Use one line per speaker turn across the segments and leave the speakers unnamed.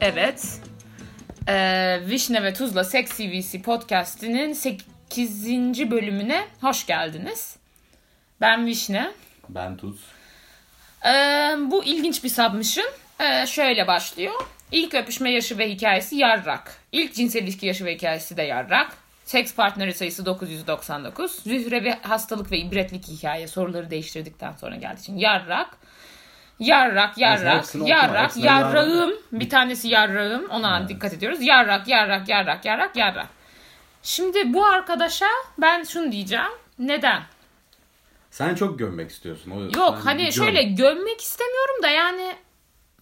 Evet. Ee, Vişne ve Tuzla Sex CVC podcast'inin 8. bölümüne hoş geldiniz. Ben Vişne.
Ben Tuz.
Ee, bu ilginç bir submission. Ee, şöyle başlıyor. İlk öpüşme yaşı ve hikayesi yarrak. İlk cinsel ilişki yaşı ve hikayesi de yarrak. Seks partneri sayısı 999. Zührevi hastalık ve ibretlik hikaye soruları değiştirdikten sonra geldiği için yarrak. Yarrak,
Mesela
yarrak,
hepsini okuma,
yarrak,
hepsini yarrak.
yarrağım. Bir tanesi yarrağım. Ona dikkat ediyoruz. Yarrak, yarrak, yarrak, yarrak, yarrak. Şimdi bu arkadaşa ben şunu diyeceğim. Neden?
Sen çok gömmek istiyorsun. O
Yok
sen
hani
göm.
şöyle gömmek istemiyorum da yani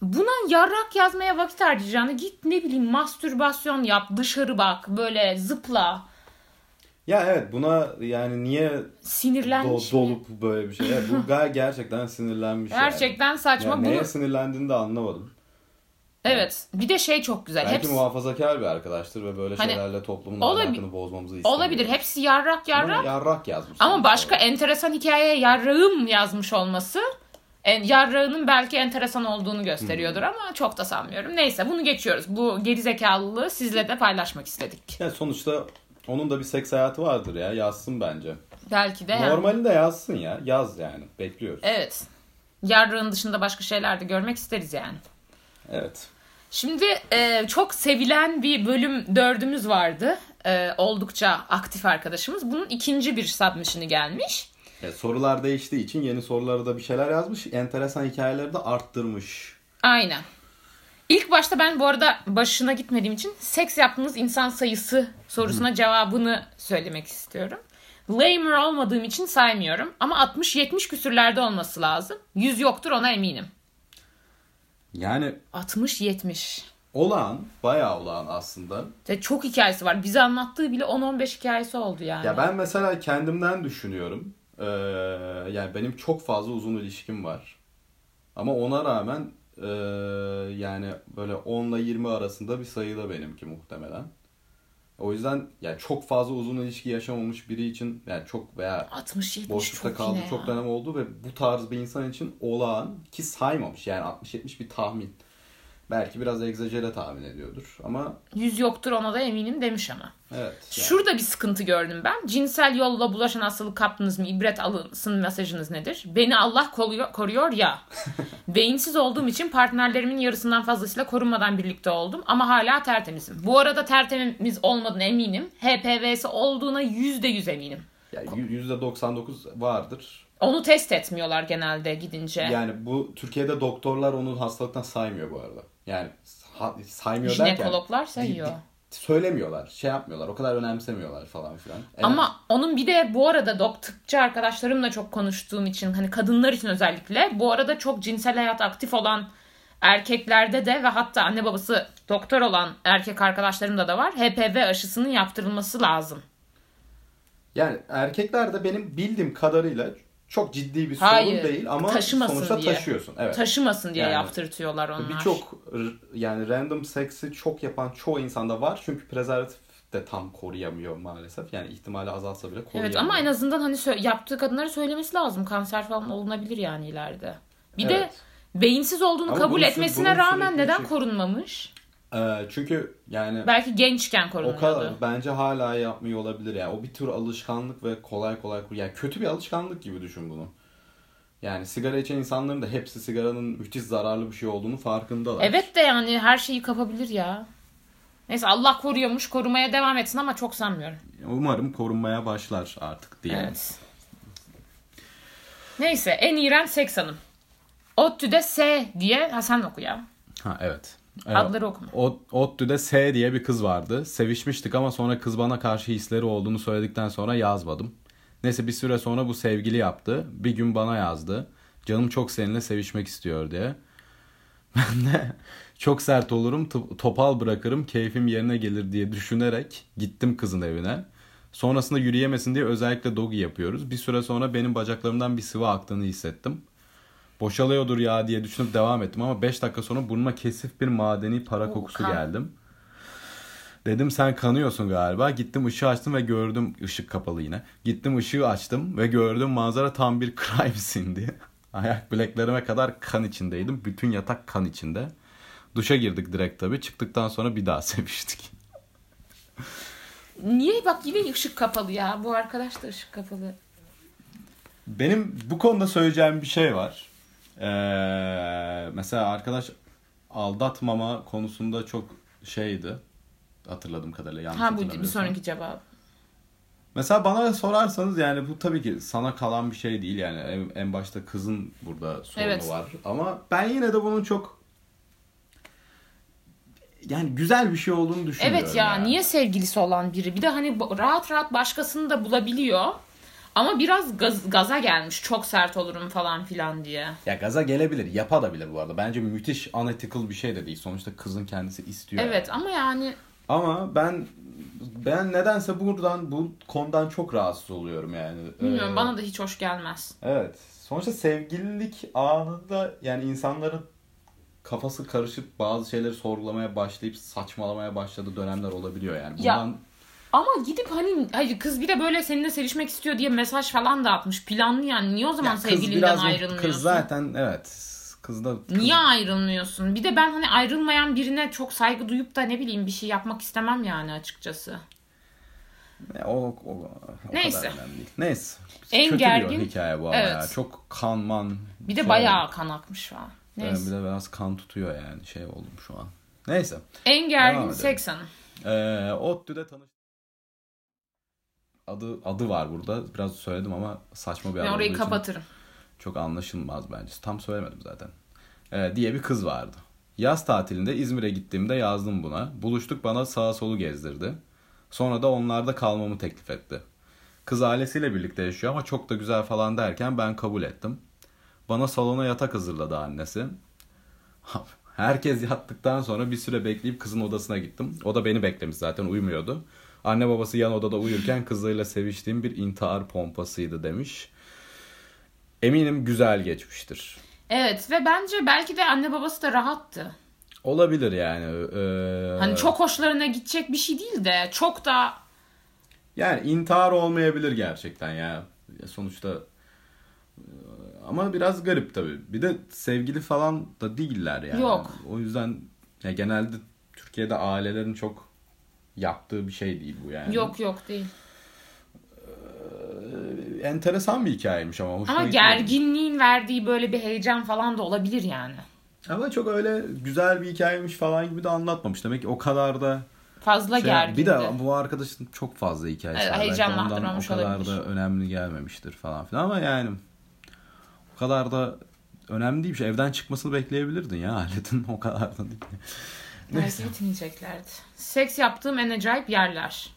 buna yarrak yazmaya vakit harcayacağını git ne bileyim mastürbasyon yap dışarı bak böyle zıpla
Ya evet buna yani niye do-
sinirlenmiş.
dolup böyle bir şey. Evet, bu gay gerçekten sinirlenmiş. yani.
Gerçekten saçma.
Yani
Bunu-
neye sinirlendiğini de anlamadım.
Evet bir de şey çok güzel.
Belki
Hepsi-
muhafazakar bir arkadaştır ve böyle
Hani
şeylerle toplumun
olabi-
ahlakını bozmamızı istemiyor.
olabilir hepsi yarrak
Ama
yarrak
yarrak yazmış.
ama başka enteresan hikayeye yarrağım yazmış olması en, yarrağının belki enteresan olduğunu gösteriyordur ama çok da sanmıyorum. Neyse bunu geçiyoruz. Bu gerizekalılığı sizle de paylaşmak istedik.
Yani sonuçta onun da bir seks hayatı vardır ya. Yazsın bence.
Belki de yani-
Normalinde yazsın ya. Yaz yani. Bekliyoruz.
Evet. Yarrağın dışında başka şeyler de görmek isteriz yani.
Evet.
Şimdi e, çok sevilen bir bölüm dördümüz vardı. E, oldukça aktif arkadaşımız. Bunun ikinci bir submission'ı gelmiş.
Ya E, sorular değiştiği için yeni sorulara da bir şeyler yazmış. Enteresan hikayeleri de arttırmış.
Aynen. İlk başta ben bu arada başına gitmediğim için seks yaptığınız insan sayısı sorusuna cevabını söylemek istiyorum. Lamer olmadığım için saymıyorum ama 60-70 küsürlerde olması lazım. 100 yoktur ona eminim.
Yani
60-70.
Olağan, bayağı olağan aslında.
Ya Çok hikayesi var. Bize anlattığı bile 10-15 hikayesi oldu yani.
Ya ben mesela kendimden düşünüyorum. Ee, yani benim çok fazla uzun ilişkim var. Ama ona rağmen ee, yani böyle 10 ile 20 arasında bir sayıda benimki muhtemelen. O yüzden yani çok fazla uzun ilişki yaşamamış biri için yani çok veya
60-70
boşlukta
çok
kaldığı
yine
çok
ya.
dönem oldu ve bu tarz bir insan için olağan ki saymamış yani 60-70 bir tahmin. Belki biraz egzajere tahmin ediyordur ama
Yüz yoktur ona da eminim demiş ama.
evet. yani.
Şurada bir sıkıntı gördüm ben. Cinsel yolla bulaşan hastalık kaptınız mı? İbret alınsın mesajınız nedir? Beni Allah koruyor, koruyor ya. Beyinsiz olduğum için partnerlerimin yarısından fazlasıyla korunmadan birlikte oldum. Ama hala tertemizim. Bu arada tertemiz olmadığına eminim. HPV'si olduğuna yüzde yüz eminim.
Yani yü- %99 vardır.
Onu test etmiyorlar genelde gidince.
Yani bu Türkiye'de doktorlar onu hastalıktan saymıyor bu arada. Yani ha- saymıyor
Jinekologlar
derken.
sayıyor.
di- di- Söylemiyorlar, şey yapmıyorlar, o kadar önemsemiyorlar falan filan. Eh, Evet.
Ama onun bir de bu arada dok tıpçı arkadaşlarımla çok konuştuğum için hani kadınlar için özellikle bu arada çok cinsel hayat aktif olan erkeklerde de ve hatta anne babası doktor olan erkek arkadaşlarımda da var. HPV aşısının yaptırılması lazım.
yani erkeklerde benim bildiğim kadarıyla çok ciddi bir sorun
Hayır,
değil ama
taşımasın
sonuçta
diye.
taşıyorsun. Evet.
Taşımasın diye
Yani
yaptırtıyorlar onlar.
Birçok r- yani random seksi çok yapan çoğu insanda var. Çünkü prezervatif de tam koruyamıyor maalesef. Yani ihtimali azalsa bile koruyamıyor.
Evet ama en azından hani sö- yaptığı kadınlara söylemesi lazım. Kanser falan olunabilir yani ileride. Bir de
Evet.
beyinsiz olduğunu
Ama
kabul
bunun sü-
etmesine
bunun
rağmen
sürekli
neden
şey-
korunmamış?
Ee, çünkü yani
Belki gençken
O
korunuyordu.
kadar bence hala yapmıyor olabilir ya. O bir tür alışkanlık ve kolay kolay kur- yani kötü bir alışkanlık gibi düşün bunu. Yani sigara içen insanların da hepsi sigaranın müthiş zararlı bir şey olduğunu farkındalar.
Evet de yani her şeyi kapabilir ya. Neyse Allah koruyormuş korumaya devam etsin ama çok sanmıyorum.
Umarım korunmaya başlar artık diye.
Evet. Neyse en iğrenç seks hanım. ODTÜ'de S diye ha sen oku ya.
Ha evet.
Adları okuma.
O- ODTÜ'de S diye bir kız vardı. Sevişmiştik ama sonra kız bana karşı hisleri olduğunu söyledikten sonra yazmadım. Neyse bir süre sonra bu sevgili yaptı. Bir gün bana yazdı. Canım çok seninle sevişmek istiyor diye. Ben de çok sert olurum, t- topal bırakırım, keyfim yerine gelir diye düşünerek gittim kızın evine. Sonrasında yürüyemesin diye özellikle dogi yapıyoruz. Bir süre sonra benim bacaklarımdan bir sıvı aktığını hissettim boşalıyordur ya diye düşünüp devam ettim ama 5 dakika sonra burnuma kesif bir madeni para kokusu
kan.
geldim. Dedim sen kanıyorsun galiba. Gittim ışığı açtım ve gördüm ışık kapalı yine. Gittim ışığı açtım ve gördüm manzara tam bir crime scene'di. Ayak bileklerime kadar kan içindeydim. Bütün yatak kan içinde. Duşa girdik direkt tabii. Çıktıktan sonra bir daha seviştik.
Niye bak yine ışık kapalı ya. Bu arkadaş da ışık kapalı.
Benim bu konuda söyleyeceğim bir şey var. Ee, mesela arkadaş aldatmama konusunda çok şeydi. Hatırladığım kadarıyla yanlış
Ha bu bir
hatırlamıyorsam.
sonraki cevap.
Mesela bana sorarsanız yani bu tabii ki sana kalan bir şey değil yani en, en başta kızın burada sorunu
Evet.
var ama ben yine de bunun çok yani güzel bir şey olduğunu düşünüyorum.
Evet ya
yani.
niye sevgilisi olan biri? Bir de hani bu- rahat rahat başkasını da bulabiliyor. Ama biraz gaz- gaza gelmiş. Çok sert olurum falan filan diye.
Ya gaza gelebilir, yapa da bilir bu arada. Bence müthiş unethical bir şey de değil. Sonuçta kızın kendisi istiyor.
Evet ama yani
Ama ben ben nedense buradan bu konudan çok rahatsız oluyorum yani.
bilmiyorum
Ee,
bana da hiç hoş gelmez.
Evet. Sonuçta sevgililik anında yani insanların kafası karışıp bazı şeyleri sorgulamaya başlayıp saçmalamaya başladığı dönemler olabiliyor yani.
Ya-
Bundan
Ama gidip hani hayır kız bir de böyle seninle sevişmek istiyor diye mesaj falan da atmış. Planlı yani niye o zaman
Ya kız
sevgilinden
biraz bu-
ayrılmıyorsun?
Kız zaten evet. Kız da kız-
Niye ayrılmıyorsun? Bir de ben hani ayrılmayan birine çok saygı duyup da ne bileyim bir şey yapmak istemem yani açıkçası.
Ya o, o- o
Neyse.
kadar önemli değil. Neyse.
En
Kötü
gergin-
bir hikaye bu ama
Evet.
ya. Çok kanman.
Bir de bayağı kan akmış falan. Neyse.
Bir de biraz kan tutuyor yani şey oldum şu an. Neyse.
En
Devam
gergin
edelim.
seks anı.
Ee, ODTÜ'de tanış adı adı var burada. Biraz söyledim ama saçma bir
Ben
adam
orayı
olduğu için
kapatırım.
Çok anlaşılmaz bence. Tam söylemedim zaten. Ee, diye bir kız vardı. Yaz tatilinde İzmir'e gittiğimde yazdım buna. Buluştuk bana sağa solu gezdirdi. Sonra da onlarda kalmamı teklif etti. Kız ailesiyle birlikte yaşıyor ama çok da güzel falan derken ben kabul ettim. Bana salona yatak hazırladı annesi. Herkes yattıktan sonra bir süre bekleyip kızın odasına gittim. O da beni beklemiş zaten uyumuyordu. Anne babası yan odada uyurken kızıyla seviştiğim bir intihar pompasıydı demiş. Eminim güzel geçmiştir.
Evet ve bence belki de anne babası da rahattı.
Olabilir yani. Ee,
Hani çok hoşlarına gidecek bir şey değil de çok da
Yani intihar olmayabilir gerçekten ya. Ya Sonuçta e, ama biraz garip tabii. Bir de sevgili falan da değiller yani.
Yok.
O yüzden ya genelde Türkiye'de ailelerin çok yaptığı bir şey değil bu yani.
yok yok değil.
Enteresan bir hikayeymiş ama hoşuma
Ama
gitmedi.
gerginliğin verdiği böyle bir heyecan falan da olabilir yani.
Ama çok öyle güzel bir hikayeymiş falan gibi de anlatmamış. Demek ki o kadar da
Fazla
Şey,
gergindi.
bir de bu arkadaşın çok fazla hikayesi
Evet,
var. Belki
heyecanlandırmamış
ondan O kadar
olabilir.
da önemli gelmemiştir falan filan ama yani o kadar da önemli değilmiş. Evden çıkmasını bekleyebilirdin ya aletin o kadar da değil.
Belki bitineceklerdi. Seks yaptığım en acayip yerler.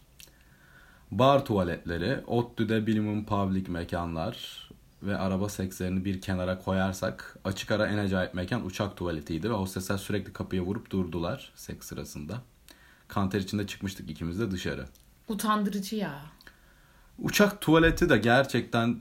Bar tuvaletleri, ODTÜ'de bilimum public mekanlar ve araba sekslerini bir kenara koyarsak açık ara en acayip mekan uçak tuvaletiydi ve hostesler sürekli kapıya vurup durdular seks sırasında. Kanter içinde çıkmıştık ikimiz de dışarı.
Utandırıcı ya.
Uçak tuvaleti de gerçekten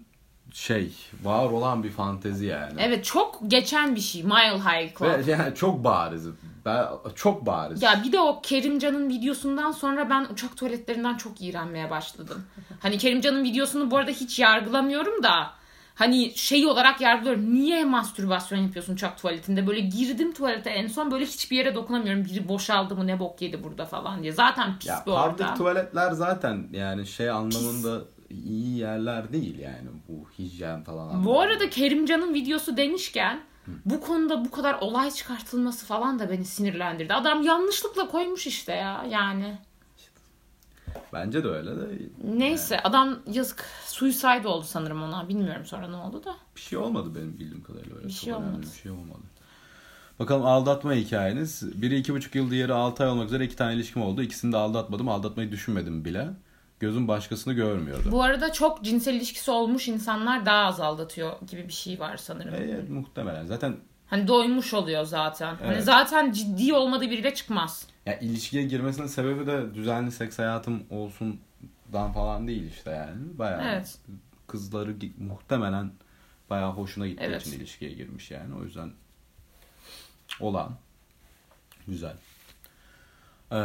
şey var olan bir fantezi yani.
Evet çok geçen bir şey. Mile High Club.
Ve yani çok bariz. Ben- Çok bariz.
Ya bir de o Kerimcan'ın videosundan sonra ben uçak tuvaletlerinden çok iğrenmeye başladım. Hani Kerimcan'ın videosunu bu arada hiç yargılamıyorum da hani şey olarak yargılıyorum. Niye mastürbasyon yapıyorsun uçak tuvaletinde? Böyle girdim tuvalete en son böyle hiçbir yere dokunamıyorum. Biri boşaldı mı ne bok yedi burada falan diye. Zaten pis
Ya
bu arada.
public tuvaletler zaten yani şey anlamında iyi yerler değil yani bu hijyen falan.
Bu
anlamında.
arada Kerimcan'ın videosu demişken bu konuda bu kadar olay çıkartılması falan da beni sinirlendirdi. Adam yanlışlıkla koymuş işte ya yani.
Bence de öyle de
Neyse adam yazık suicide oldu sanırım ona. Bilmiyorum sonra ne oldu da.
bir şey olmadı benim bildiğim kadarıyla. Öyle
Bir
çok
şey
önemli
olmadı.
Bir şey olmadı. Bakalım aldatma hikayeniz. Biri iki buçuk yıl diğeri altı ay olmak üzere iki tane ilişkim oldu. İkisini de aldatmadım. Aldatmayı düşünmedim bile. Gözüm başkasını görmüyordu.
Bu arada çok cinsel ilişkisi olmuş insanlar daha az aldatıyor gibi bir şey var sanırım.
Evet muhtemelen. Zaten
Hani doymuş oluyor zaten. Hani
Evet.
zaten ciddi olmadığı biriyle çıkmaz.
Ya ilişkiye girmesinin sebebi de düzenli seks hayatım olsundan falan değil işte yani. Bayağı
Evet.
kızları gi- muhtemelen bayağı hoşuna gittiği
Evet.
için ilişkiye girmiş yani. O yüzden olan güzel. Ee,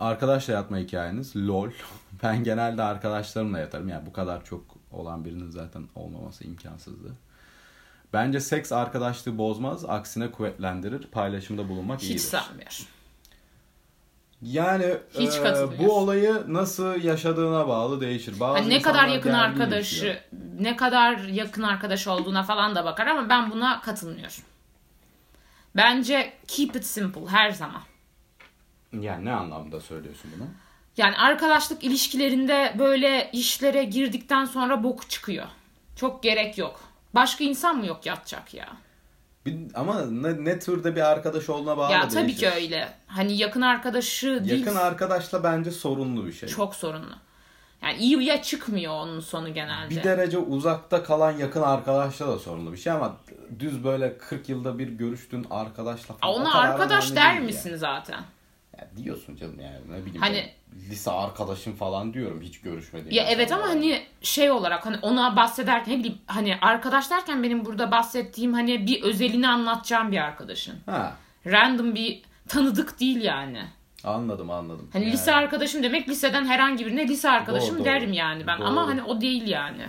arkadaşla yatma hikayeniz lol. Ben genelde arkadaşlarımla yatarım. Yani bu kadar çok olan birinin zaten olmaması imkansızdı. Bence seks arkadaşlığı bozmaz, aksine kuvvetlendirir. Paylaşımda bulunmak
Hiç
iyidir.
sanmıyorum.
Yani
Hiç
e,
katılmıyorum.
bu olayı nasıl yaşadığına bağlı değişir. Bazı
Hani ne kadar
insanlar
yakın
gergin yaşıyor.
arkadaşı, ne kadar yakın arkadaş olduğuna falan da bakar ama ben buna katılmıyorum. Bence keep it simple her zaman.
Yani ne anlamda söylüyorsun bunu?
Yani arkadaşlık ilişkilerinde böyle işlere girdikten sonra bok çıkıyor. Çok gerek yok. Başka insan mı yok yatacak ya?
Bir- ama ne, ne türde bir arkadaş olduğuna bağlı
ya tabii
değişir.
ki öyle. Hani yakın arkadaşı değil.
Yakın arkadaşla bence sorunlu bir şey.
Çok sorunlu. Yani iyi ya çıkmıyor onun sonu genelde.
Bir derece uzakta kalan yakın arkadaşla da sorunlu bir şey ama düz böyle 40 yılda bir görüştüğün arkadaşla
Aa,
falan. o
Ona
kadar
arkadaş
önemli
der
değil
misin zaten?
Yani. Ya diyorsun canım yani ne bileyim.
Hani-
ben lise arkadaşım falan diyorum hiç görüşmediğim.
Ya evet ama
insanlara.
hani şey olarak hani ona bahsederken ne bileyim hani arkadaş derken benim burada bahsettiğim hani bir özelini anlatacağım bir arkadaşın.
Ha
Random bir tanıdık değil yani.
anladım anladım.
Hani
Yani
lise arkadaşım demek liseden herhangi birine lise arkadaşım
Doğru, doğru.
derim yani ben ama
Doğru.
hani o değil yani.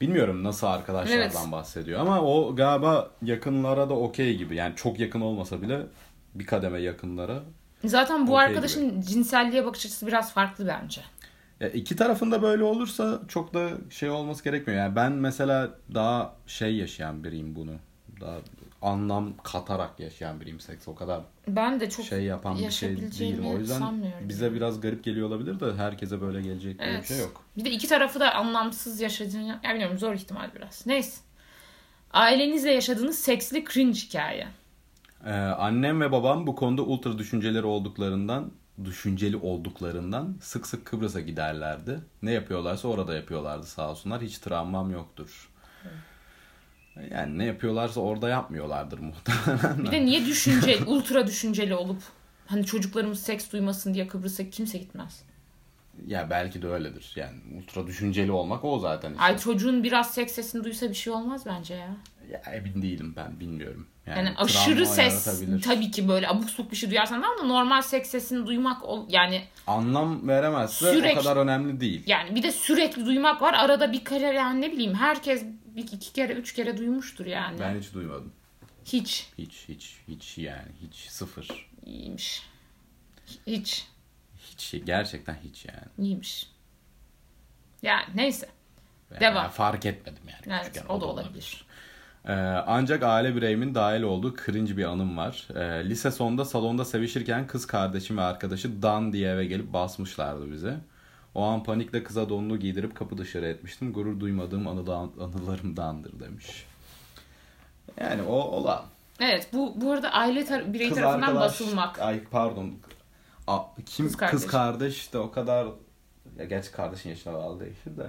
Bilmiyorum nasıl arkadaşlardan
Evet.
bahsediyor ama o galiba yakınlara da okey gibi. Yani çok yakın olmasa bile bir kademe yakınlara.
Zaten bu
Okey
arkadaşın cinselliğe bakış açısı biraz farklı bence.
Ya iki tarafında böyle olursa çok da şey olması gerekmiyor. Yani ben mesela daha şey yaşayan biriyim bunu. Daha anlam katarak yaşayan biriyim seks. O kadar
Ben de çok
şey yapan bir şey değilim.
yaşayabileceğimi
O yüzden
sanmıyorum.
bize biraz garip geliyor olabilir de herkese böyle gelecek diye bir
Evet.
şey yok.
Bir de iki tarafı da anlamsız yaşadığını... Ya bilmiyorum zor ihtimal biraz. Neyse. Ailenizle yaşadığınız seksli cringe hikaye.
Ee, annem ve babam bu konuda ultra düşünceleri olduklarından düşünceli olduklarından sık sık Kıbrıs'a giderlerdi. Ne yapıyorlarsa orada yapıyorlardı sağ olsunlar. Hiç travmam yoktur. Yani ne yapıyorlarsa orada yapmıyorlardır muhtemelen.
Bir de niye düşünce, ultra düşünceli olup hani çocuklarımız seks duymasın diye Kıbrıs'a kimse gitmez.
ya belki de öyledir. Yani ultra düşünceli olmak o zaten işte.
Ay çocuğun biraz seks sesini duysa bir şey olmaz bence ya.
Ya emin değilim ben bilmiyorum.
Yani
travma
aşırı ses
yaratabilir.
tabii ki böyle abuk subuk bir şey duyarsan tamam da normal seks sesini duymak ol- yani
Anlam veremezse
Sürekli-
o kadar önemli değil.
yani bir de sürekli duymak var arada bir kere yani ne bileyim herkes bir iki kere üç kere duymuştur yani.
Ben hiç duymadım.
Hiç
Hiç hiç hiç yani hiç sıfır.
iyiymiş. Hiç
Hiç gerçekten hiç yani.
iyiymiş. Yani neyse.
Yani
Devam.
fark etmedim yani.
Evet,
küçükken.
o da olabilir.
Ee, ancak aile bireyimin dahil olduğu cringe bir anım var. Ee, lise sonunda salonda sevişirken kız kardeşim ve arkadaşı Dan diye eve gelip basmışlardı bize. O an panikle kıza donunu giydirip kapı dışarı etmiştim. Gurur duymadığım anıdan, anılarımdandır demiş. Yani o olan.
Evet bu bu arada aile tar- birey
Kız
tarafından
arkadaş-
basılmak.
Ay pardon. A, kim
Kız
kız
kardeş.
kardeş. de o kadar ya gerçi kardeşin yaşına bağlı değişir de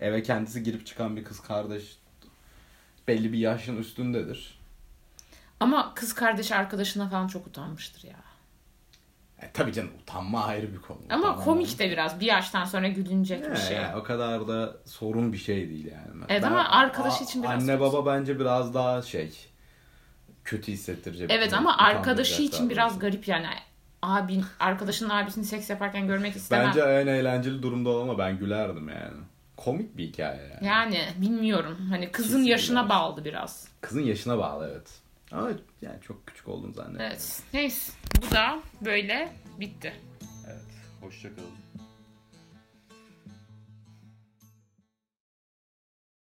eve kendisi girip çıkan bir kız kardeş belli bir yaşın üstündedir.
Ama kız kardeş arkadaşına falan çok utanmıştır ya.
E, tabii canım utanma ayrı bir konu.
Ama
Utanma-
komik de biraz bir yaştan sonra gülünecek
Ya,
bir şey.
ya, o kadar da sorun bir şey değil yani.
Evet ama arkadaşı için biraz
Anne
sorun.
baba bence biraz daha şey kötü hissettirecek.
Evet
bir-
ama
utandıracak
arkadaşı için
daha
biraz
doğrusu.
garip yani. Abin, arkadaşının abisini seks yaparken görmek istemem.
Bence en eğlenceli durumda olan ama ben gülerdim yani. Komik bir hikaye yani.
Yani bilmiyorum. Hani kızın
Kesin
yaşına
biraz.
bağlı biraz.
Kızın yaşına bağlı evet. Ama yani çok küçük olduğunu zannediyorum.
Evet. Neyse. Bu da böyle bitti.
evet. Hoşçakalın.